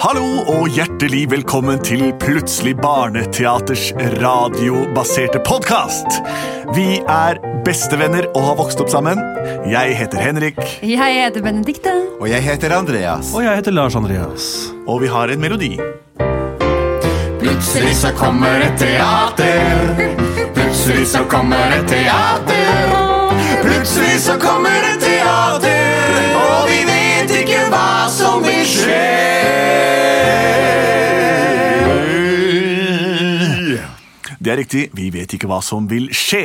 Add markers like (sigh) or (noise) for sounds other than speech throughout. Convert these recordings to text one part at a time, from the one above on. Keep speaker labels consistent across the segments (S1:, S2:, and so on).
S1: Hallo og hjertelig velkommen til Plutselig barneteaters radiobaserte podkast. Vi er bestevenner og har vokst opp sammen. Jeg heter Henrik,
S2: Jeg heter Benedikte.
S3: Og jeg heter Andreas.
S4: Og jeg heter Lars Andreas.
S1: og vi har en melodi.
S3: Plutselig så kommer et teater. Plutselig så kommer et teater. Plutselig så kommer et teater. Og vi vet ikke hva som vil skje.
S1: Det er riktig, vi vet ikke hva som vil skje.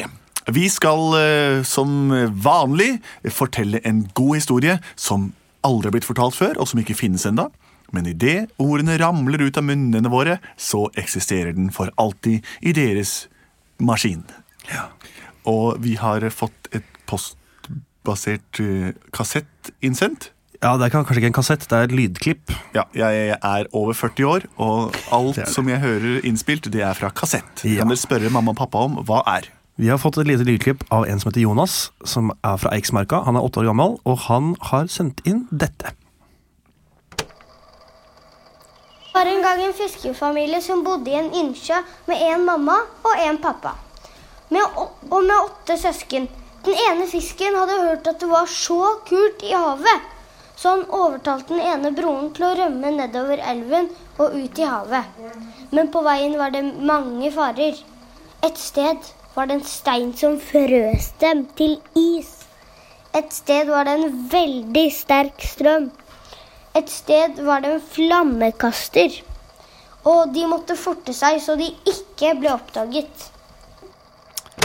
S1: Vi skal eh, som vanlig fortelle en god historie som aldri er blitt fortalt før, og som ikke finnes enda. Men idet ordene ramler ut av munnene våre, så eksisterer den for alltid i deres maskin. Og vi har fått et postbasert eh, kassett innsendt.
S4: Ja, Det er kanskje ikke en kassett, det er et lydklipp.
S1: Ja, jeg er over 40 år, og alt
S4: er det.
S1: som jeg hører innspilt, det er fra kassett.
S4: Ja.
S1: Kan dere spørre mamma og pappa om hva er?
S4: Vi har fått et lite lydklipp av en som heter Jonas, som er fra Eiksmarka. Han er åtte år gammel, og han har sendt inn dette.
S5: Det var en gang en fiskerfamilie som bodde i en innsjø med en mamma og en pappa. Med, å- og med åtte søsken. Den ene fisken hadde hørt at det var så kult i havet, så han overtalte den ene broren til å rømme nedover elven og ut i havet. Men på veien var det mange farer. Et sted var det en stein som frøs dem til is. Et sted var det en veldig sterk strøm. Et sted var det en flammekaster, og de måtte forte seg så de ikke ble oppdaget.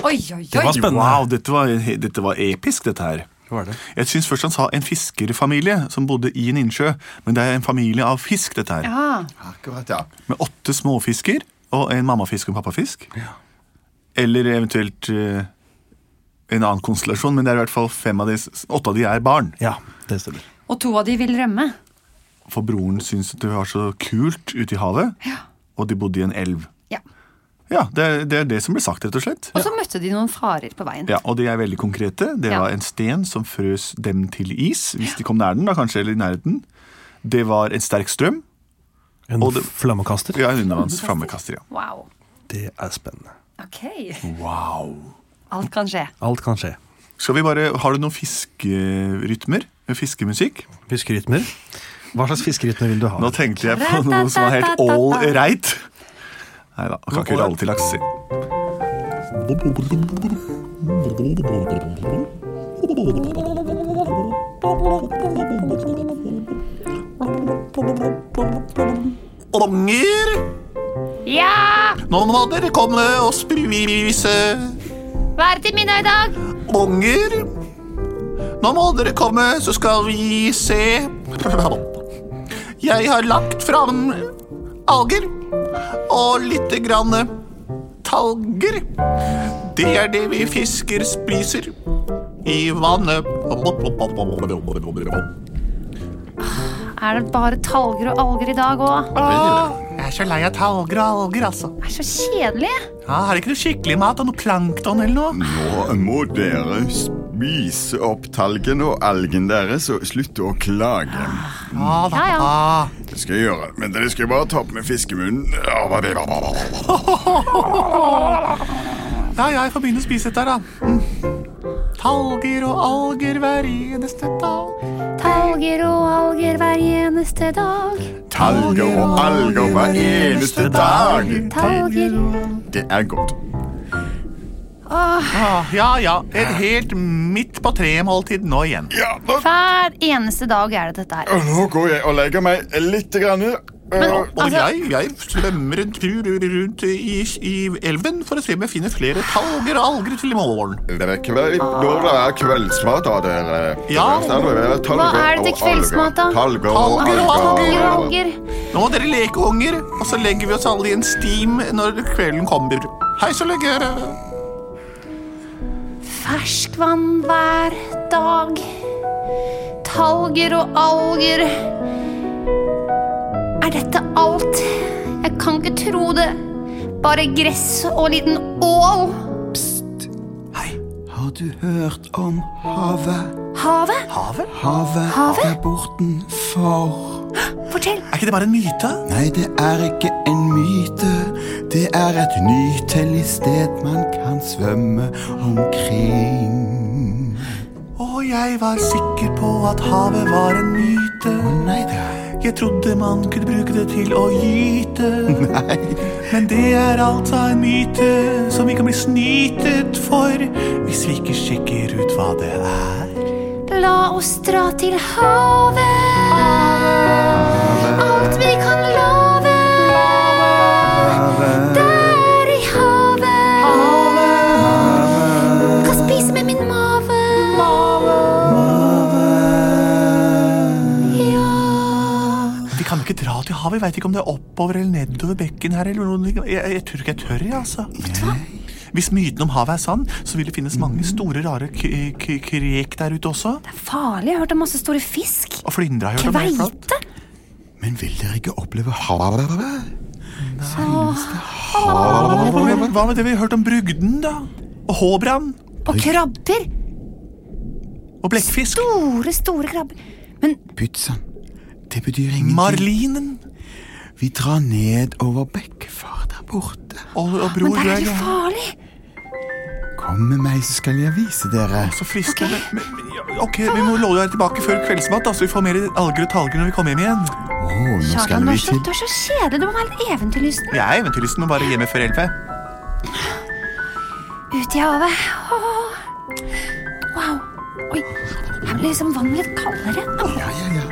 S2: Oi, oi,
S4: Det
S2: oi.
S4: var spennende.
S1: Wow, dette var, dette var episk, dette her.
S4: Hva er det?
S1: Jeg syns først han sa en fiskerfamilie som bodde i en innsjø, men det er en familie av fisk, dette her.
S2: Ja.
S3: Akkurat, ja.
S1: Med åtte småfisker og en mammafisk og en pappafisk. Eller eventuelt eh, en annen konstellasjon, men det er i hvert fall fem av de, åtte av de er barn.
S4: Ja, det stemmer.
S2: Og to av de vil rømme.
S1: For broren syns det var så kult ute i havet, og de bodde i en elv.
S2: Ja.
S1: Ja, det er, det er det som ble sagt, rett og slett.
S2: Og så møtte de noen farer på veien.
S1: Ja, og de er veldig konkrete. Det
S2: Ja.
S1: var en sten som frøs dem til is, hvis de kom nær den, da kanskje, eller i nærheten. Det var en sterk strøm.
S4: En
S1: Og det-
S4: flammekaster.
S1: Ja, en undervanns flammekaster, ja.
S2: Wow.
S4: Det er spennende.
S2: Ok.
S1: Wow.
S2: Alt kan skje.
S4: Alt kan skje.
S1: Skal vi bare, Har du noen fiskerytmer? Fiskemusikk?
S4: Fiskerytmer. Hva slags fiskerytme vil du
S1: Nå
S4: ha?
S1: tenkte jeg på noe som var helt all right. Nei da, kan ikke gjøre alle til laks. Unger,
S6: Ja!
S1: nå må dere komme og spise.
S6: Hva er det til middag i dag?
S1: Unger, nå må dere komme, så skal vi se. Jeg har lagt fram alger og litt grann talger. Det er det vi fisker spiser i vannet.
S2: Er det bare talger og alger i dag òg?
S1: Jeg er så lei av talger og alger, altså.
S2: Det er så kjedelig.
S1: Ja, er det ikke noe skikkelig mat og noe plankton eller
S2: Mm.
S1: noe?
S3: Nå må dere spise opp talgen og algen deres og slutte å klage.
S2: Ja, ja.
S3: Det skal jeg gjøre, men dere skal bare ta på med fiskemunnen.
S1: Ja, jeg får begynne å spise dette her, da. Mm. Talger og alger hver eneste dag.
S2: Talger og alger hver eneste dag.
S3: Talger og alger hver eneste dag.
S2: Talger
S3: Det er godt.
S1: Ah, ja, ja. Et helt midt på treet-måltid nå igjen.
S3: Ja, nå,
S2: Hver eneste dag er det dette her.
S3: og nå går jeg og legger meg litt. Grann.
S2: Men-
S1: Og
S2: Altså-
S1: jeg, jeg svømmer en tur rundt i, i elven for å se om jeg finner flere talger og alger til i morgen.
S3: Det er kveld, når det er kveldsmat, da, dere.
S1: Ja.
S3: Det er talger
S2: Hva er det til
S3: og alger.
S2: kveldsmat, da?
S3: Talger og
S1: Talger og
S2: Talger og
S3: alger.
S2: alger.
S1: Nå må dere leke unger, og så legger vi oss alle i en steam når kvelden kommer. Hei så lenge.
S2: Ferskvann hver dag. Talger og alger. Er dette alt? Jeg kan ikke tro det. Bare gress og en liten ål.
S7: Har du hørt om havet?
S2: Havet?
S7: Havet,
S2: Havet?
S7: er bortenfor.
S2: Fortell.
S1: Er ikke det bare en myte?
S3: Nei, det er ikke en myte. Det er et nytellig sted man kan svømme omkring.
S1: Og jeg var sikker på at havet var en myte.
S3: Nei, det er
S1: Jeg trodde man kunne bruke det til å gyte.
S3: (laughs) Nei.
S1: Men det er altså en myte som vi kan bli snytet for hvis vi ikke sjekker ut hva det er.
S2: La oss dra til havet. Alt vi kan love. Der i havet. Kan spise med min mave. Ja.
S1: Vi kan jo ikke dra til havet. Jeg veit ikke om det er oppover eller nedover bekken her. eller noe. Jeg, jeg tror ikke jeg tør, jeg, altså. Hvis myten om havet er sann, så vil det finnes mange
S2: Mm.
S1: store, rare k k krek der ute også.
S2: Farlig. Jeg har hørt om masse store fisk.
S1: Og flyndre har jeg hørt om. helt klart.
S2: Kveite.
S3: Men vil dere ikke oppleve havet?
S1: Hva med- Hva med det vi har hørt om brugden, da? Og håbrand?
S2: Og krabber.
S1: Og blekkfisk?
S2: Store, store krabber. Men
S3: Pytsan, det betyr ingenting.
S1: Marlinen?
S3: Vi drar ned over Bekkefar der borte.
S1: Og, og bror,
S2: Men der
S1: du
S2: er
S1: er
S2: det farlig!
S3: Kom med meg, så skal jeg vise dere.
S1: så fristende. Men, men, ja, ok, Vi må love deg tilbake før kveldsmat, da, så vi får mer alger og talger når vi kommer hjem igjen.
S3: Å, nå
S2: Kjartan,
S3: skal
S2: du
S3: vi
S2: er så,
S3: til
S2: du er så kjedelig. Du må være litt eventyrlysten.
S1: Jeg er eventyrlysten, men bare hjemme før elleve.
S2: Ut i havet. Åh. Wow. Oi, her blir liksom vannet litt kaldere.
S3: Ja, ja, ja.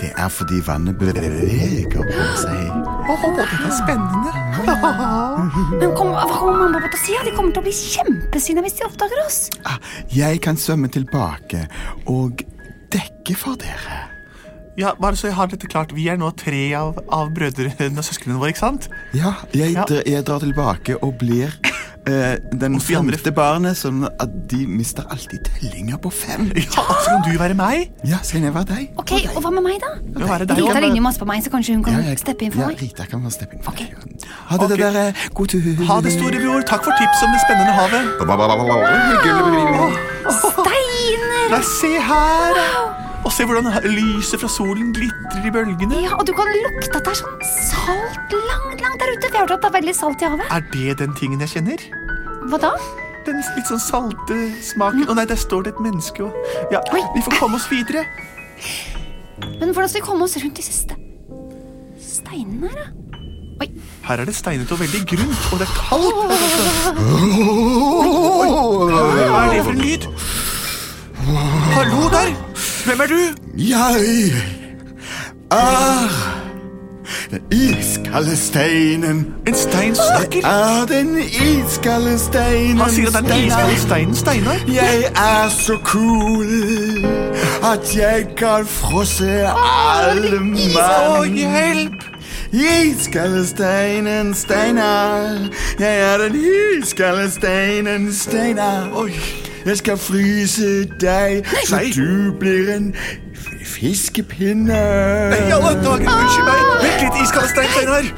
S3: Det er fordi vannet beveger på seg.
S1: Åh, dette er spennende.
S2: Men kom, hva kommer mamma og pappa til å si? De kommer til å bli kjempesinna hvis de oppdager oss.
S3: Ah, Jeg kan svømme tilbake og dekke for dere.
S1: Ja, bare så jeg har dette klart, Vi er nå tre av, av brødrene og søsknene våre, ikke sant?
S3: Ja, jeg,
S1: Ja.
S3: dr- jeg drar tilbake og blir eh,
S1: de
S3: den
S1: andre-
S3: femte barnet, sånn at de mister alltid tellinger på fem.
S1: Ja, og Så kan du være meg.
S3: Ja, skal jeg være deg?
S2: Ok, Og hva med meg, da?
S1: Du kan være deg.
S2: Rita
S1: Anne.
S2: ligner jo masse på meg, så kanskje hun kan
S3: Ja, jeg-
S2: steppe inn for
S3: ja,
S2: meg.
S3: Rita kan bare steppe inn for
S2: Ok.
S3: deg. Ha det,
S1: Ok.
S3: det der. eh, God tur.
S1: Ha det, storebror. Takk for tips om det spennende havet.
S2: Steiner!
S1: Nei, se her. Og se hvordan lyset fra solen glitrer i bølgene.
S2: Ja, og du kan lukte at det er sånn salt langt, langt der ute. Vi har hørt at det er veldig salt i havet.
S1: Er det den tingen jeg kjenner?
S2: Hva da?
S1: Den litt sånn salte smaken. Å nei, der står det et menneske og Ja,
S2: Oi.
S1: vi får komme oss videre.
S2: Men hvordan skal vi komme oss rundt de siste steinene her, da?
S1: Her er det steinet og veldig grunt, og det er kaldt. Hva er det for en lyd? Hallo der! Hvem er du?
S3: Jeg er den iskalde steinen.
S1: En stein som snakker.
S3: Er den iskalde steinen.
S1: Han sier at det er den iskalde steinen Steinar.
S3: Jeg er så cool at jeg kan frosse alle
S1: Å,
S3: mann.
S1: hjelp!
S3: Iskalde steinen, Steinar. Jeg er den iskalde steinen, Steinar.
S1: Oi.
S3: Jeg skal fryse deg, så
S1: Nei.
S3: du blir en f- fiskepinne.
S1: I alle dager, unnskyld meg. Vent litt, iskalde stein, Steinar.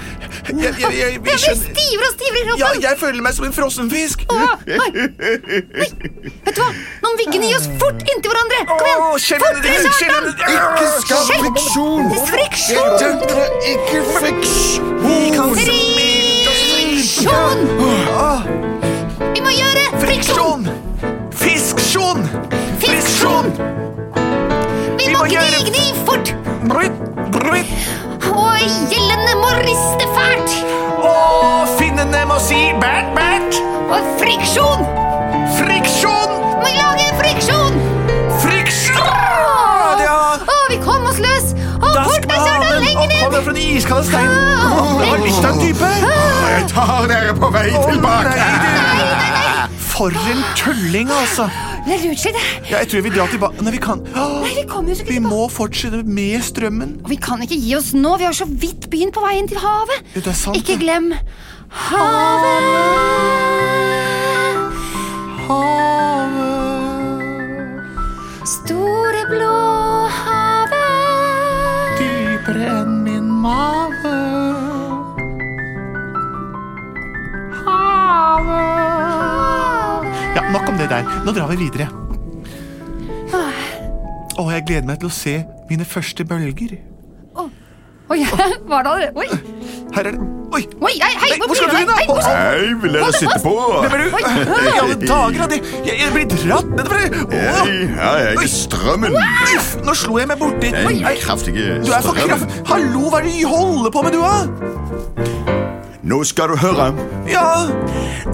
S1: Jeg, jeg, jeg, jeg
S2: Jeg blir
S1: skjønner
S2: stivere og stivere i kroppen!
S1: Ja, jeg føler meg som en frossenfisk.
S2: Åh, nei. nei, vet du hva? Nå må vi gni oss fort inntil hverandre! Kom igjen!
S1: Å, kjellene
S2: Fortere,
S1: dine!
S2: Kjartan!
S1: kjellene dine.
S3: Ikke skap
S2: Shit.
S3: friksjon!
S2: Friksjon!
S3: Jeg tenker ikke friksjon!
S2: Friksjon! Vi må gjøre friksjon!
S1: Friksjon! Fisksjon!
S2: Friksjon! Vi må
S1: må
S2: gni,
S1: gjøre-
S2: gni fort!
S1: Brutt, brutt.
S2: Og gjellene må riste fælt!
S1: Og finnene må si bært, bært.
S2: Og friksjon!
S1: Friksjon!
S2: Må lage friksjon!
S1: Friksjon! Ah, Ja,
S2: Å, vi kom oss løs! Og
S1: dask
S2: fort
S1: med
S2: med Kjartan,
S1: hanen!
S2: lenger
S1: Og
S2: ned!
S1: kommer fra den iskalde steinen.
S2: Åh,
S1: Det var litt av en type.
S3: Jeg tar dere på vei tilbake!
S1: For en tulling, altså.
S2: Jeg er utslitt, jeg.
S1: Ja, jeg tror vi drar tilbake Nei, vi kan
S2: Nei, vi kommer jo så ikke
S1: Vi
S2: tilbake.
S1: må fortsette med strømmen.
S2: Og vi kan ikke gi oss nå, vi har så vidt begynt på veien til havet.
S1: Ja, det er sant,
S2: ikke
S1: det.
S2: glem havet. Havet. Store blå havet.
S1: Dypere enn min mage. Ja, nok om det der. Nå drar vi videre. Å, jeg gleder meg til å se mine første bølger.
S2: Å, Oi, (laughs) var det allerede? Oi,
S1: Her er det. Oi!
S2: oi, hei, hei,
S1: Nei, hvor skal du
S2: blir
S1: hen,
S2: det?
S1: da?
S2: Hei, hvor skal-
S3: Hei, vil dere sitte på?
S1: Hvem er du?
S2: Oi.
S1: I alle dager, Adi! Jeg, jeg blir dratt nedover! Åh!
S3: Hei, hei, jeg
S1: Oi.
S3: er strømmen.
S1: Uff, nå slo jeg meg borti.
S3: Den
S1: Oi, ei,
S3: kraftige
S1: Du er for kraft.
S3: strømmen.
S1: Hallo, hva er det du holder på med, du, da?
S3: Nå skal du høre.
S1: Ja,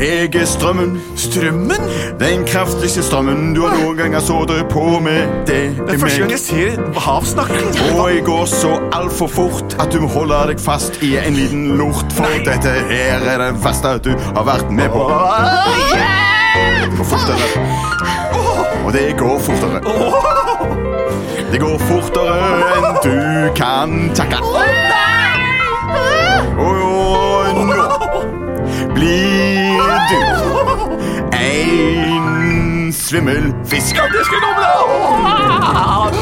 S3: Jeg er strømmen.
S1: strømmen?
S3: Den kraftigste strømmen du har noen ganger så det på med. Det
S1: Det
S3: er
S1: er første gang
S3: meg.
S1: jeg ser hav snakke.
S3: Og jeg går så altfor fort at du må holde deg fast i en liten lort. For dette her er det verste du har vært med på. Det går fortere. Og det går fortere. Det går fortere enn du kan takle. Og nå blir du en svimmel fisk.
S1: Ja, det skal jeg gå med deg!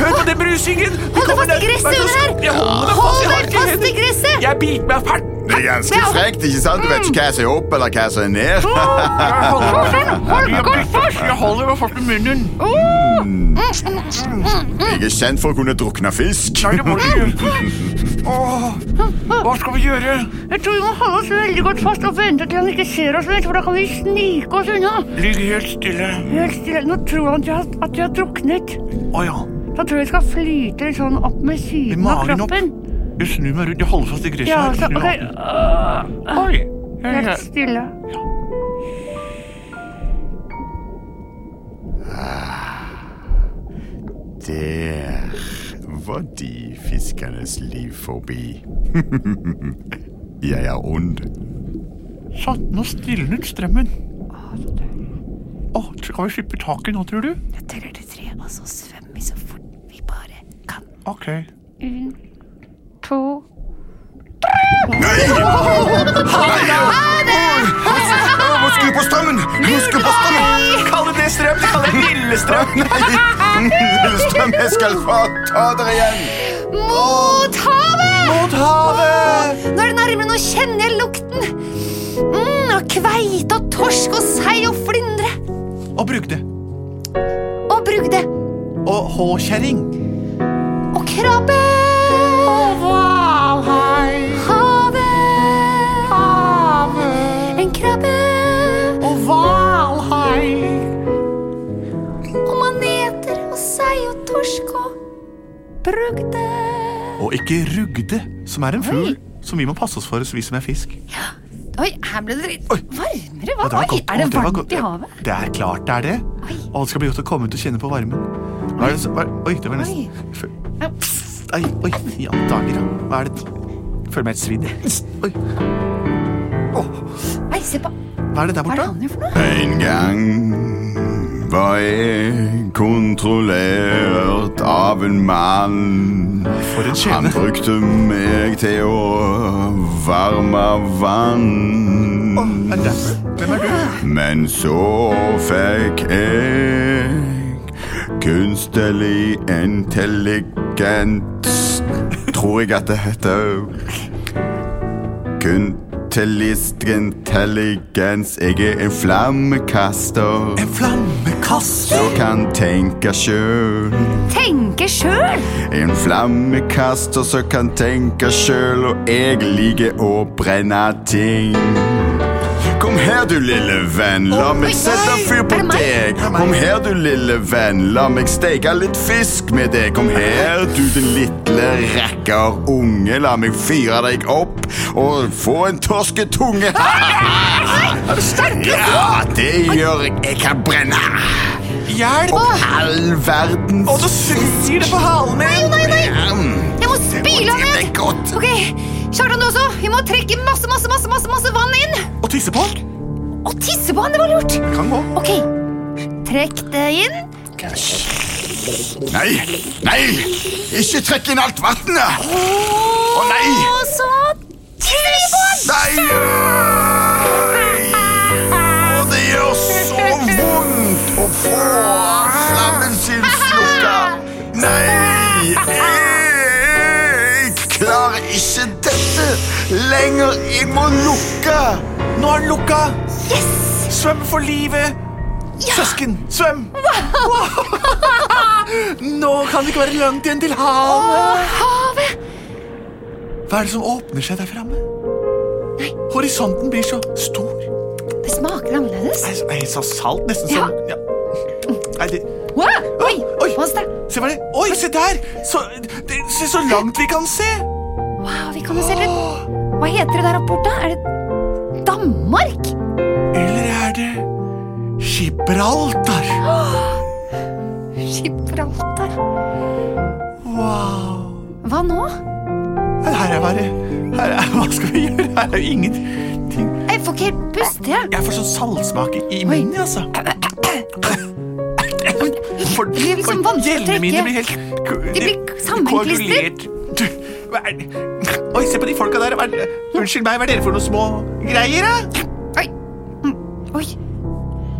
S1: Hør på den brusingen! Vi
S2: Hold deg
S1: kommer
S2: fast
S1: ned.
S2: i gresset under her!
S1: Jeg holder meg fast,
S2: Hold
S1: jeg har
S2: deg
S1: ikke
S2: fast i
S1: hender.
S2: gresset!
S1: Jeg biter meg fælt.
S3: Det er ganske frekt, ikke sant? Du vet ikke hva som er opp eller hva som er ned.
S1: Jeg holder meg fast. Jeg holder meg fast i munnen.
S3: Jeg er kjent for å kunne drukne fisk.
S1: Nei, det må du ikke gjøre. Åh, Hva skal vi gjøre?
S6: Jeg tror vi må holde oss veldig godt fast og vente til han ikke ser oss, vet, du, for da kan vi snike oss unna.
S1: Ligg helt stille.
S6: Helt stille. Nå tror han at jeg har- at jeg har druknet.
S1: Å ja.
S6: Da tror jeg jeg skal flyte litt sånn opp med siden av
S1: magen opp.
S6: kroppen.
S1: Jeg snur meg rundt. Jeg holder fast i gresset.
S6: Ja,
S1: her.
S6: så,
S1: Snur meg
S6: ok, Ah,
S1: opp. Oi. Hei, hei.
S6: Helt stille.
S3: Der var de fiskernes liv forbi. (laughs) Jeg er ond.
S1: Sånn, nå stilnet strømmen.
S6: Ah,
S1: Å, skal vi slippe taket nå, tror du?
S2: Jeg teller til tre, og så svømmer vi så fort vi bare kan.
S1: Ok.
S6: To.
S3: Å, skru på strømmen! Skru på strømmen!
S1: Kaller det strøm? Det kaller jeg
S3: (laughs)
S1: lillestrøm.
S3: Lillestrøm, jeg skal få ta dere igjen!
S2: Mot havet!
S1: Mot havet!
S2: Nå er det nærmere, nå kjenner jeg lukten. Mm, og kveite og torsk og sei og flyndre.
S1: Og brugde.
S2: Og brugde.
S1: Og håkjerring.
S2: Og krabbe. Og hvalhai. Havet. Havet. En krabbe. Og hvalhai. Og maneter og sei og torsk og brugde.
S1: Og ikke rugde, som er en fugl. Som vi må passe oss for, så vi som er fisk.
S2: Oi, her ble det litt varmere. Hva?
S1: Ja, det var
S2: Oi,
S1: godt.
S2: er
S1: Å,
S2: det
S1: var godt.
S2: varmt i havet?
S1: Det er klart det er det.
S2: Oi.
S1: Å, det skal bli godt å komme ut og kjenne på varmen. Hva er det som hva er- Oi, det var nesten
S2: Ja, pst.
S1: Ei, oi, i alle dager, da. Hva er det Føler meg helt svidd. jeg. Oi. Å,
S2: Nei, se på
S1: hva er det der
S2: Hva er det
S1: borte?
S2: han gjør for noe?
S3: En gang var jeg kontrollert av en mann.
S1: For en
S3: Han
S1: skjebne.
S3: brukte meg til å varme vann.
S1: Er det derfor? Hvem er du?
S3: Men så fikk jeg kunstig intelligent Tror jeg at det heter Kunstig intelligens. Jeg er en flammekaster
S1: En flammekaster.
S3: og kan tenke sjøl.
S2: Tenke sjøl!
S3: En flammekaster som kan tenke sjøl, og jeg liker å brenne ting. Kom her, du lille venn, la meg sette fyr på
S2: Er det meg?
S3: deg. Kom her, du lille venn, la meg steke litt fisk med deg. Kom her, du din lille rakker unge, la meg fyre deg opp og få en torsketunge. Ja, det gjør jeg. Jeg kan brenne
S1: Hjelp! Å,
S3: all
S1: du
S3: verdens
S1: svir det på halen min!
S2: Nei, nei,
S3: Bam.
S2: jeg må spyle han
S3: Det er
S2: ned!
S3: godt.
S2: Ok, Kjartan, du også. Vi må trekke masse, masse, masse, masse, masse vann inn.
S1: Og tisse på?
S2: Og tisse på han, det var lurt.
S1: Kan gå.
S2: Ok, trekk det inn.
S3: Nei, nei! Ikke trekk inn alt vannet! Å nei!
S2: Og så tisser vi på han!
S3: Nei! Å, Det gjør så vondt å få flammen sin slukka. Nei! Jeg klarer ikke dette lenger. Jeg må lukke.
S1: Nå er den lukka.
S2: Yes!
S1: Svøm for livet! Søsken, svøm! (laughs) Wow. Nå kan det ikke være langt igjen til havet.
S2: Og havet.
S1: Hva er det som åpner seg der framme? Horisonten blir så stor.
S2: Det smaker annerledes.
S1: Nei, så- nei, så salt. Nesten
S2: Ja.
S1: som ja. Nei, det,
S2: Wow! Oi,
S1: Oi.
S2: pass deg.
S1: Se hva det Oi, se der! Så, det, se så langt vi kan se!
S2: Wow, vi kan jo se litt. Hva heter det der oppe borte? Er det Danmark?
S1: Eller er det Gibraltar?
S2: Gibraltar.
S1: Wow.
S2: Hva nå?
S1: Men Her er bare her er, Hva skal vi gjøre? Her er jo ingenting.
S2: Jeg får ikke helt pust, jeg.
S1: Jeg får sånn saltsmak i- i munnen, altså. For,
S2: Det blir liksom
S1: for
S2: vanskelig å
S1: gjellene mine
S2: trekke.
S1: blir helt eh, ko-
S2: De blir
S1: de-
S2: sammenklister.
S1: koagulert. Du, hva er det? Oi, se på de folka der. Hva er det? Unnskyld meg, hva er dere for noen små greier, da?
S2: Oi. Mm, Oi.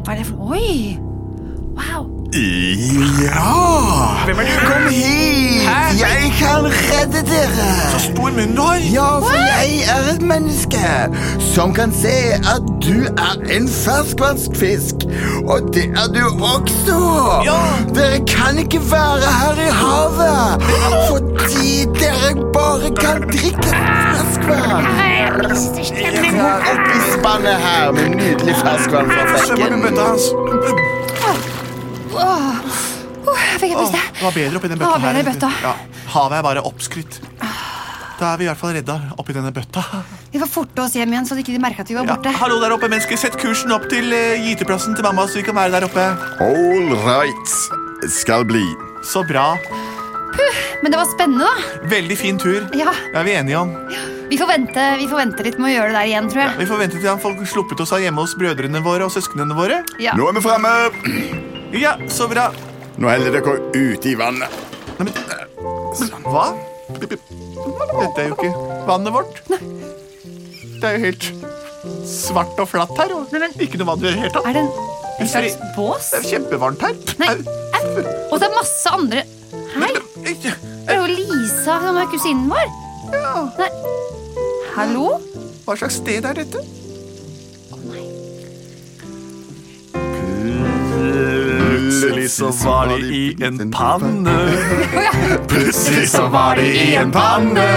S2: Hva er det for Oi! Wow.
S3: Ja!
S1: Hvem er du?
S3: Kom hit! Jeg kan redde dere!
S1: Så stor munn du har.
S3: Ja, for jeg er et menneske som kan se at du er en ferskvannsfisk. Og det er du også.
S1: Ja.
S3: Dere kan ikke være her i havet fordi dere bare kan drikke ferskvann. Jeg har oppi spannet her med nydelig ferskvann fra
S1: Svømmer
S3: bekken.
S1: med bøtta hans.
S2: Uh, jeg fikk helt
S1: Åh,
S2: pust,
S1: det var
S2: jeg.
S1: bedre oppi den
S2: Det
S1: bøtta
S2: var bedre
S1: her.
S2: i bøtta.
S1: Ja, havet er bare oppskrytt. Da er vi i hvert fall redda oppi denne bøtta.
S2: Vi får forte oss hjem igjen, så de ikke merka at vi var
S1: Ja,
S2: borte.
S1: hallo der oppe, mennesker. Sett kursen opp til eh, gyteplassen til mamma, så vi kan være der oppe.
S3: All right. Skal bli.
S1: Så bra.
S2: Men det var spennende, da.
S1: Veldig fin tur.
S2: Ja.
S1: Er vi enige om?
S2: Vi får vente, vi får vente litt med å gjøre det der igjen, tror jeg.
S1: Vi får vente til han får sluppet oss av hjemme hos brødrene våre og søsknene våre.
S2: Ja.
S3: Nå er vi framme.
S1: Ja, så bra.
S3: Nå heller dere ute i vannet.
S1: Nei, men, men hva? Dette er jo ikke vannet vårt. Det er jo helt svart og flatt her. Og
S2: Nei, men-
S1: ikke noe vann i det hele tatt.
S2: Er det en, en slags bås?
S1: Det er kjempevarmt her.
S2: Nei,
S1: Au.
S2: au. Og det er masse andre Hei! Det er jo Lisa, som er kusinen vår.
S1: Ja,
S2: Nei. Hallo?
S1: hva slags sted er dette? Plutselig så var de i en panne. Plutselig så var de i en panne.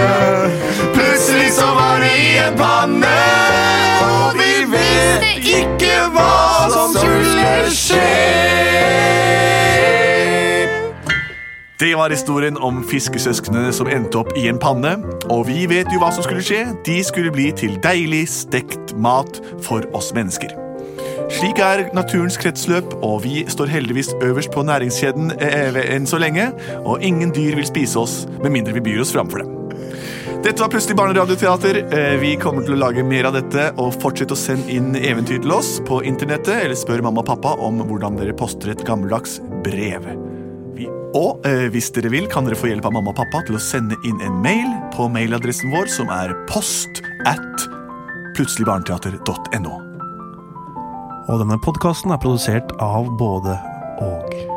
S1: Plutselig så var de i en panne. Og de vet ikke hva som skulle skje. Det var historien om fiskesøsknene som endte opp i en panne. Og vi vet jo hva som skulle skje. De skulle bli til deilig stekt mat for oss mennesker. Slik er naturens kretsløp, og vi står heldigvis øverst på næringskjeden eh, enn så lenge, og ingen dyr vil spise oss med mindre vi byr oss framfor dem. Dette var Plutselig barneradioteater. Eh, Vi kommer til å lage mer av dette. Og fortsett å sende inn eventyr til oss på internettet, eller spør mamma og pappa om hvordan dere poster et gammeldags brev. Vi, og eh, hvis dere vil, kan dere få hjelp av mamma og pappa til å sende inn en mail på mailadressen vår, som er post at plutseligbarneteater.no.
S4: Og denne podkasten er produsert av både og.